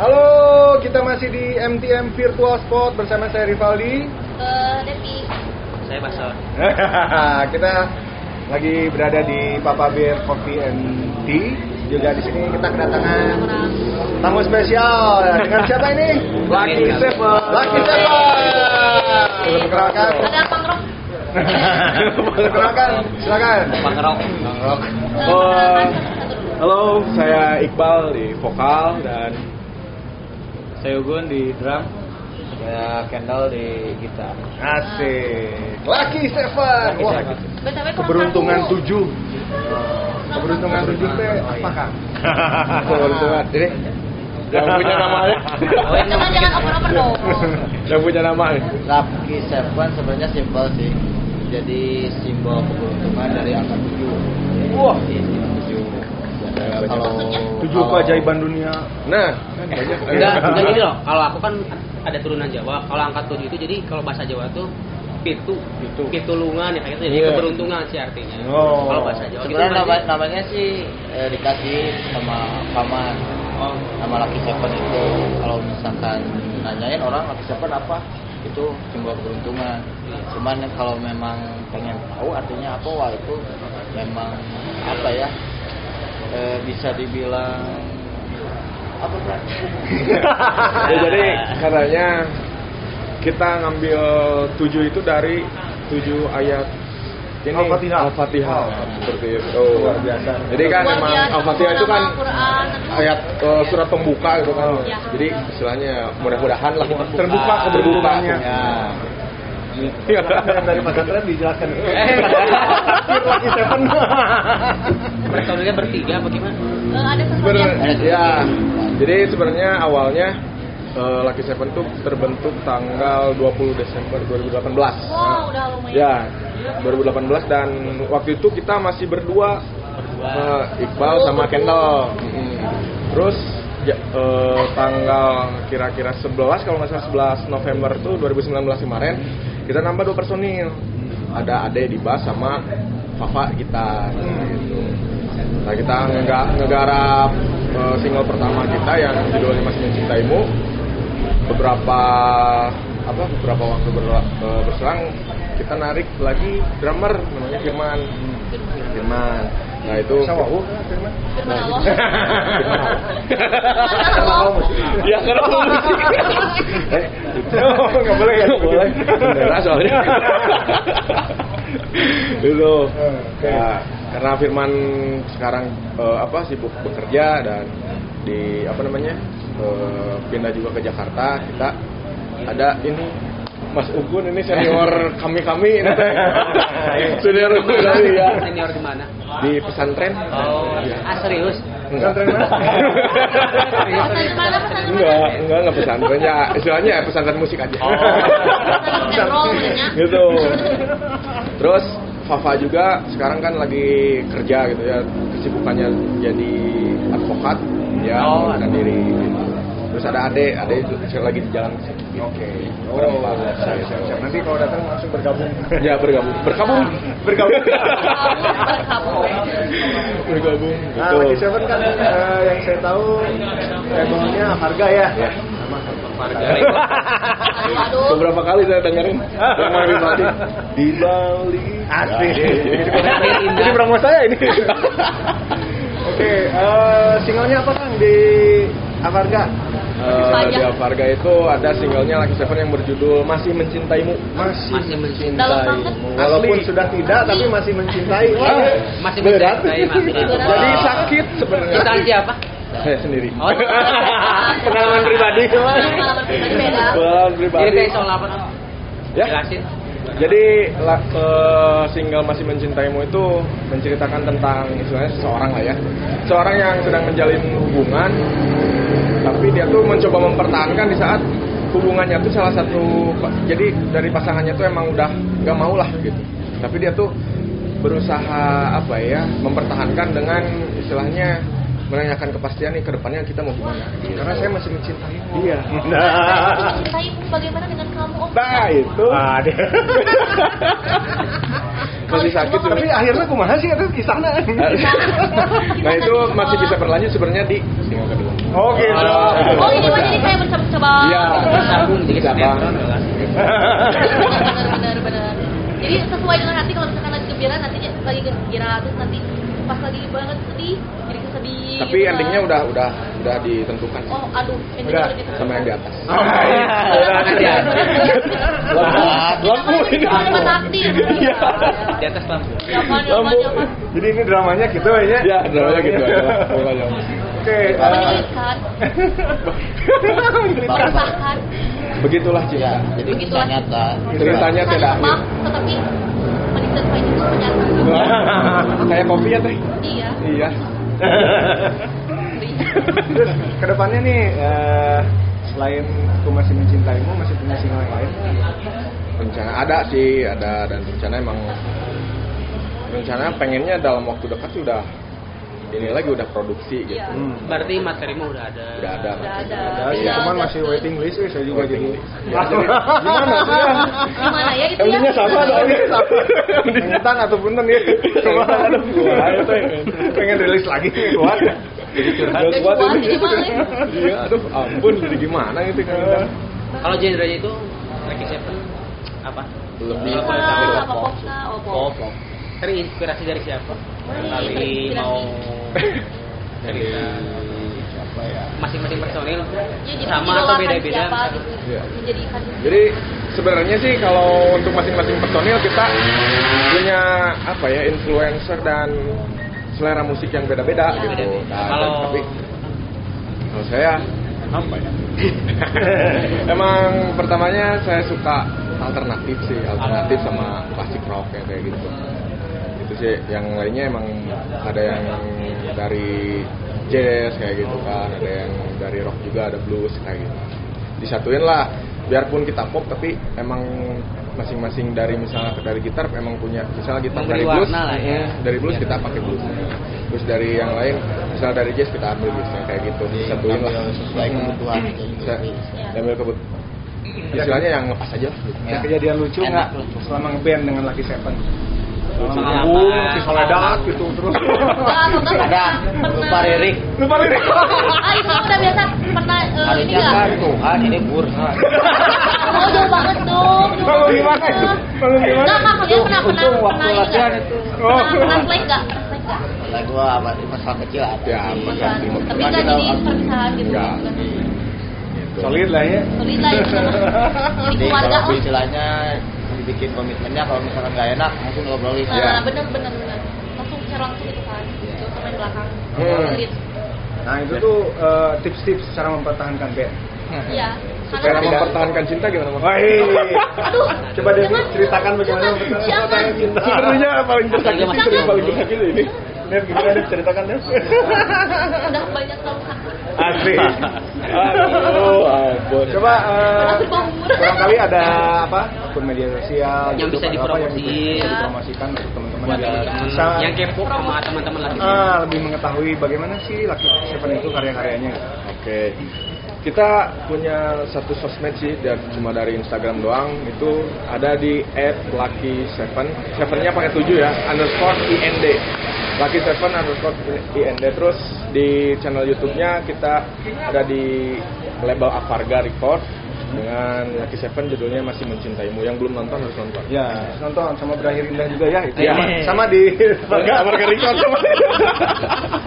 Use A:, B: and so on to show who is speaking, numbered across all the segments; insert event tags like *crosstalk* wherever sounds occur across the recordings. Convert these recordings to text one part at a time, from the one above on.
A: Halo, kita masih di MTM Virtual Spot bersama saya Rivaldi. *laughs*
B: Eh, Devi.
C: Saya Bason.
A: kita lagi berada di Papa Bear Coffee and Tea. Juga di sini kita kedatangan
B: Orang.
A: tamu spesial dengan siapa ini?
C: Lucky Seven.
A: Lucky Seven. Perkenalkan.
D: *laughs*
B: Ada Bang Rok.
A: Perkenalkan, silakan.
C: Bang Rok.
B: Perkenalkan satu-satu dulu.
D: Halo, saya Iqbal di vokal dan saya Ugun di drum. Saya Kendall di gitar.
A: Asik. Lucky Seven.
D: Lucky
A: Wah,
D: Seven.
B: BTW kurang
A: keberuntungan
B: satu.
A: tujuh. Keberuntungan tujuh itu apa kang?
D: Keberuntungan. Jadi yang punya nama
A: *laughs*
D: ya.
B: Jangan jangan over over dong.
D: yang punya nama ya.
E: Lucky Seven sebenarnya simbol sih. Jadi simbol keberuntungan dari angka 7.
A: Wah,
E: Kalau
A: tujuh
E: kalau-
A: keajaiban dunia. gitu.
D: Nah, *laughs*
C: Enggak, enggak gini loh. Kalau aku kan ada turunan Jawa. Kalau angka 7 itu jadi kalau bahasa Jawa tuh pitu,
D: Pitu.
C: pitulungan ya kayak gitu. Jadi
D: Iya.
C: keberuntungan sih artinya.
A: Oh.
C: Kalau bahasa Jawa gitu
E: Sebenarnya nama,
C: berarti-
E: namanya sih eh, dikasih sama paman.
C: Oh,
E: Nama Lucky Seven itu kalau misalkan nanyain orang Lucky Seven apa? Itu simbol keberuntungan. Cuman kalau memang pengen tahu artinya apa wah itu memang apa ya? eh, bisa dibilang apa Bran?
D: ya, jadi katanya kita ngambil tujuh itu dari tujuh ayat ini
A: Al-Fatihah.
D: Al-Fatihah.
A: Wow.
D: seperti itu. Oh,
A: Luar biasa.
D: Jadi kan
B: Luar
D: emang
B: biasa,
D: Al-Fatihah itu kan
B: nama Quran. Aduh.
D: ayat eh, surat pembuka gitu kan.
B: Ya.
D: Jadi istilahnya mudah-mudahan lah
A: Terbuka keberuntungannya. *laughs*
E: Ya.
D: Iya.
A: Yang dari pesantren dijelaskan.
D: Eh.
A: Lucky Seven.
C: bertolaknya bertiga apa gimana?
D: Nah,
B: Eh, ada sesuatu
D: Ber-
B: yang
D: ya. Jadi sebenarnya awalnya eh, Lucky Seven tuh terbentuk tanggal 20 Desember 2018.
B: Wow, udah lumayan.
D: Ya, 2018 dan waktu itu kita masih berdua, Eh, Iqbal sama Kendall. Mm-mm. Terus ya, eh, tanggal kira-kira 11 kalau nggak salah 11 November tuh 2019 kemarin kita nambah dua personil. Ada Ade di bass sama Fafa gitar gitu. Nah, kita ngega- ngegarap eh, single pertama kita yang judulnya Masih Mencintaimu beberapa apa beberapa waktu berla- eh, berselang kita narik lagi drummer namanya Firman Firman nah itu
A: Sama aku.
B: Firman
D: Nah.
B: Allah.
D: Firman apa?
B: Firman
C: Oh,
B: Allah.
D: ya *laughs* kenapa musik eh nggak boleh ya nggak boleh bendera soalnya *laughs* itu ya, karena Firman sekarang eh, apa sibuk bekerja dan di apa namanya eh, pindah juga ke Jakarta kita ada ini Mas Ugun ini *laughs* senior kami kami ini teh. senior Ugun tadi ya
C: Senior di mana?
D: di pesantren
C: Oh,
D: Iya.
C: ah serius.
D: Enggak.
A: Pesantren mana?
C: Serius.
B: Pesan di mana? Pesan di mana?
D: Enggak, enggak, enggak pesantren ya. Istilahnya ya pesantren musik aja.
A: Oh.
B: Pesan roll maksudnya.
D: gitu. Terus Fafa juga sekarang kan lagi kerja gitu ya. Kesibukannya jadi advokat ya
C: Oh,
D: mengundurkan diri gitu. Terus ada Ade, Ade itu sekarang lagi di jalan kesini.
A: Oke.
D: Orang
A: Oh,
D: bagus.
A: siap, siap, siap. Nanti kalau datang langsung bergabung.
D: Ya bergabung, berkabung, bergabung.
B: Kamu,
D: bergabung.
A: Nah,
D: gitu.
A: Lucky Seven kan eh, yang saya tahu labelnya harga ya.
D: Ya.
B: kamu. Aduh.
D: Beberapa kali saya dengerin Yang
C: *laughs*
D: mau dibatik. di Bali. Ya, iya,
A: Asik.
C: Indah.
A: Jadi promo saya Ya, ini. Oke, eh, singlenya apa Kang di Avarga?
D: Eh, di Alvarga itu ada singlenya Lucky Seven yang berjudul Masih Mencintaimu.
A: Masih,
C: Masih mencintai.
B: Dalam banget.
A: walaupun
D: Asli.
A: sudah tidak tapi masih mencintai. Wah,
C: Masih
D: Berat.
C: mencintai masih.
D: Jadi sakit sebenarnya.
C: Kita siapa?
D: Saya sendiri.
C: Oh.
D: *laughs* Pengalaman pribadi.
B: Pengalaman pribadi beda.
D: Pengalaman
C: Jadi
D: pribadi.
C: kayak soal apa? Nam?
D: Ya.
C: Jelasin.
D: Jadi la- eh, single masih mencintaimu itu menceritakan tentang istilahnya seseorang lah ya, seorang yang sedang menjalin hubungan, tapi dia tuh mencoba mempertahankan di saat hubungannya tuh salah satu, jadi dari pasangannya tuh emang udah nggak mau lah gitu, tapi dia tuh berusaha apa ya mempertahankan dengan istilahnya menanyakan kepastian nih kedepannya kita mau gimana karena saya masih mencintaimu
A: Iya.
B: Nah. Cintaimu bagaimana dengan kamu? Oh,
D: nah itu
C: Ah,
A: Waduh.
D: masih sakit tuh.
A: Tapi
D: *laughs*
A: akhirnya kumaha sih itu kisahnya.
D: nah itu masih bisa berlanjut sebenarnya di single kedua
A: Oh gitu.
B: Oh ini mah jadi kayak mencoba-coba.
D: Iya.
C: Tersambung jadi
D: Bisa, Bang.
C: sinetron lah.
B: Benar-benar benar. Jadi sesuai dengan hati kalau misalkan lagi gembira nanti ya, lagi gembira terus nanti pas lagi banget sedih jadi kesedih.
D: tapi
B: gitu kan.
D: endingnya udah udah udah ditentukan
B: Oh aduh.
A: Udah, Oh, iya.
B: gitu.
D: sama yang di
A: *laughs*
D: atas
B: Ah,
D: Ah,
E: Wah,
B: Lampu ini. Lampu takdir. Iya.
C: Di atas lampu.
B: Jawaban,
A: Lampu.
B: jawaban, jawaban.
A: Jadi ini dramanya gitu ya.
D: ya namanya gitu aja lah.
A: Oke.
B: Iya,
A: eh,
B: Menyulitkan,
E: Bapak.
B: meresahkan.
D: begitulah
E: ya
A: Iya.
D: cinta
E: jadi kisah nyata
D: ceritanya tidak
B: Maaf, tetapi menyesuaikan itu menyatakan.
D: kayak kopi ya teh
B: Iya.
D: iya
A: *laughs*
D: *laughs*
A: Terus *laughs* kedepannya nih eh, selain aku masih mencintaimu masih punya single yang lain?
D: rencana ada sih ada dan rencana emang rencana pengennya dalam waktu dekat sih udah ini lagi udah produksi gitu
B: Iya.
A: Hmm.
C: Berarti materi mah udah ada.
D: udah ada Iya.
B: Udah ada.
A: Ada sih,
B: Tinggal
A: Iya, cuman
B: just-
A: masih waiting list eh, saya juga
D: Waiting
A: jadi.
D: list.
A: Ya, jadi *laughs* gimana sih ya?
B: Gimana ya itu ya?
D: endingnya sama dong
A: Pengentan atau punten ya? Cuma aduh, gua aja tuh yang pengen rilis lagi kuat.
D: jadi curhat
B: Jadi
D: buat
B: kuat,
D: ini.
B: jadi maling.
D: iya aduh ampun jadi gimana itu kan
C: Kalau genrenya itu Lucky Seven apa?
E: lebih
B: Apa,
E: lebih
B: apa popna, oh, pop.
C: Pop. Terinspirasi dari siapa? Kali
B: terinspirasi.
C: mau
D: *laughs* dari
C: cerita
D: siapa ya
C: masing-masing personil
B: Ya, jadi
C: sama atau
B: idolakan
C: beda-beda?
B: siapa gitu.
D: Iya.
B: Menjadi fans.
D: Jadi sebenarnya sih kalau untuk masing-masing personil kita punya apa ya influencer dan selera musik yang beda-beda gitu.
B: Ya,
C: Iya, beda-beda.
D: Nah,
C: Kalau-
D: tapi kalau saya apa ya? *laughs* Emang pertamanya saya suka alternatif sih, alternatif sama klasik rock ya kayak gitu. Itu sih yang lainnya emang ada yang dari jazz kayak gitu kan, ada yang dari rock juga, ada blues kayak gitu. Disatuin lah, biarpun kita pop tapi emang masing-masing dari misalnya dari gitar emang punya misalnya gitar
C: Memberi
D: dari blues,
E: Nah,
C: warna lah ya.
D: eh, dari blues kita pakai bluesnya. Terus dari yang lain, misal dari jazz kita ambil bluesnya kayak gitu, disatuin lah.
E: Iya, ambil sesuai
D: Hmm.
E: kebutuhan gitu.
D: Bisa ambil kebut istilahnya yang lepas aja lah gitu.
A: Ada Iya. kejadian lucu
E: Iya. Enak
A: nggak
E: lucu.
A: selama ngeband dengan Lucky Seven? Selama
C: Sama
A: manggung,
C: apa?
A: si Soledad gitu terus. *laughs*
B: Enggak, atau enggak
E: ada
B: pernah-
E: lupa
B: pernah-
E: Ririk
A: Lupa diri.
B: Ah, itu udah biasa pernah eh, ini
E: harusnya
B: enggak?
E: kan Tuhan ini burhan
B: Oh, jauh banget dong. jauh
A: Kalau
B: banget.
A: gimana
E: Iya.
A: itu? Kalau gimana?
B: Enggak, Kak, maksudnya pernah pernah
E: untung waktu
B: pernah ini
E: latihan
B: enggak?
E: itu.
B: Pernah
A: Oh.
B: pernah play enggak? Pernah play enggak?
E: Lah gua apa masalah kecil ada.
D: Ya,
E: sih.
D: masalah
B: Perpisahan.
D: lima
B: Tapi
E: bulan
B: enggak
E: kita
B: jadi
E: up-
B: perpisahan gitu.
D: Enggak.
A: Solid lah ya.
B: Solid lah itu. Jadi
E: Jadi
B: keluarga
E: kalau
B: oh.
E: istilahnya dibikin komitmennya kalau misalnya nggak enak langsung ngobrolin.
A: Iya.
B: Nah,
E: Ya.
B: bener bener bener. Langsung secara langsung gitu kan. Jauh sama yang belakang.
D: Hmm.
B: Solid.
A: Nah itu tuh eh, tips-tips cara mempertahankan band.
B: Iya. Karena
D: Cara
B: kan-
D: mempertahankan cinta gimana Mas?
A: Wih,
D: Eh,
B: Aduh.
A: coba deh
B: jangan,
A: ceritakan bagaimana
B: jangan,
A: mempertahankan
B: jangan.
A: cinta.
D: Sebenarnya
E: *laughs*
D: paling tersakiti
B: Jangan.
D: sering paling tersakiti ini.
A: Dev gimana Dev ceritakan Dev?
B: Udah banyak tahu sakit.
A: Asli.
D: Aduh, ampun.
A: Coba eh,
B: Aku bangun.
A: barangkali ada apa akun media sosial
C: Yang
A: gitu,
C: bisa
A: atau apa yang
C: dipromosi.
A: bisa
B: Iya.
A: dipromosikan untuk teman-teman
C: buat
A: biar
C: teman-teman
A: bisa
C: yang kepo sama teman-teman lagi.
A: ah, lebih mengetahui bagaimana sih laki Seven itu karya-karyanya.
D: Oke. Kita punya satu sosmed sih, dan cuma dari Instagram doang. Itu ada di @lucky seven, sevennya pakai tujuh ya, underscore ind. Lucky seven underscore ind. Terus di channel YouTube-nya kita ada di label Avarga Record dengan Lucky Seven judulnya masih mencintaimu. Yang belum nonton harus nonton.
A: Ya, nonton sama berakhir indah juga ya itu.
D: Iya.
A: Sama,
C: Eh.
A: sama di *laughs*
D: Avarga, Avarga Record. *laughs*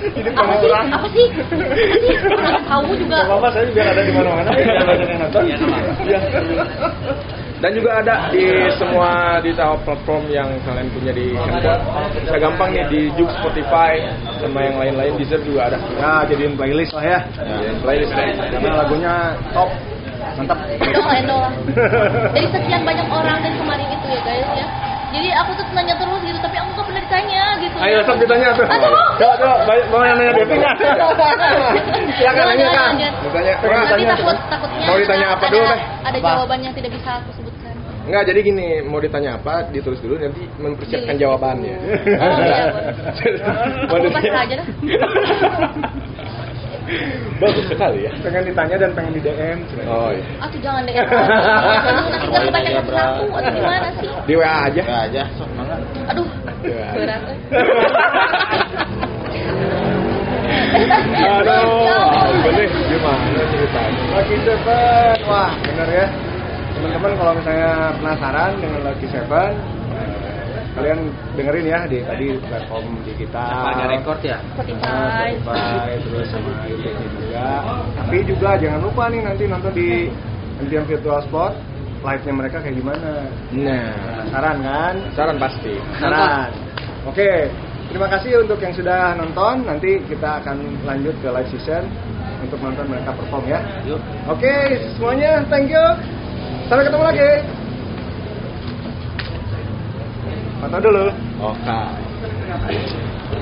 A: Jadi
B: Apa sih?
A: pengaturan.
B: Apa sih? Apa sih? Kurang tahu juga.
A: Gak apa-apa, saya juga ada di mana-mana. ya, Ada yang nonton.
C: Iya, sama.
D: Dan juga ada di semua di tahu platform yang kalian punya di handphone. Bisa gampang nih di Joox, Spotify, sama yang lain-lain Deezer juga ada. Nah,
A: Ya, jadiin playlist lah ya.
D: Ya, playlist
A: Karena lagunya top, mantap.
B: Endol lah, endol lah. Dari sekian banyak orang dari kemarin itu ya guys ya. Jadi aku tuh nanya terus gitu, tapi aku gak pernah ditanya gitu.
A: Ayo sok ditanya tuh.
B: Aduh.
A: Coba coba banyak mau yang nanya Devi nggak? Silakan
B: Jangan,
A: nanya kan.
B: jangan, jangan.
D: Mau tanya,
A: Pernah
D: Kak,
B: Nanti
A: ditanya,
B: takut
A: coba.
B: takutnya
D: Mau ditanya
B: ada-
D: apa dulu,
B: ada,
D: Teh?
B: ada
E: Apa?
B: jawabannya tidak bisa aku sebutkan.
D: Enggak, jadi gini, mau ditanya apa, ditulis dulu nanti *laughs* mempersiapkan jawabannya.
B: Oh iya. boleh.
D: Mau
B: Aku
D: *laughs* ditanya-
B: pasrah aja dah.
E: Bagus sekali ya.
D: Pengen ditanya dan pengen di DM. Cina.
E: Oh iya.
B: Ah tuh jangan deh.
D: *laughs*
B: Aduh nanti nggak kebaca
F: Iya,
B: ke
F: Bra.
B: satu. Aduh gimana sih?
E: Di WA aja.
F: Ya aja, sok banget.
B: Aduh.
E: Iya.
B: Berat. eh.
E: Aduh, bener gimana ceritanya?
D: Lucky Seven, wah bener ya. Teman-teman kalau misalnya penasaran dengan Lucky Seven, eh, kalian dengerin ya di tadi platform digital.
C: Apa ada rekor ya?
B: Spotify.
D: Spotify, terus sama YouTube juga. Tapi juga jangan lupa nih nanti nonton di MTM Virtual Sport live-nya mereka kayak gimana.
E: Nah,
D: Penasaran kan?
E: saran pasti.
D: Penasaran. Oke, terima kasih untuk yang sudah nonton. Nanti kita akan lanjut ke live session untuk nonton mereka perform ya.
C: Yuk.
D: Oke, semuanya, thank you. Sampai ketemu lagi. Foto dulu.
E: Oke.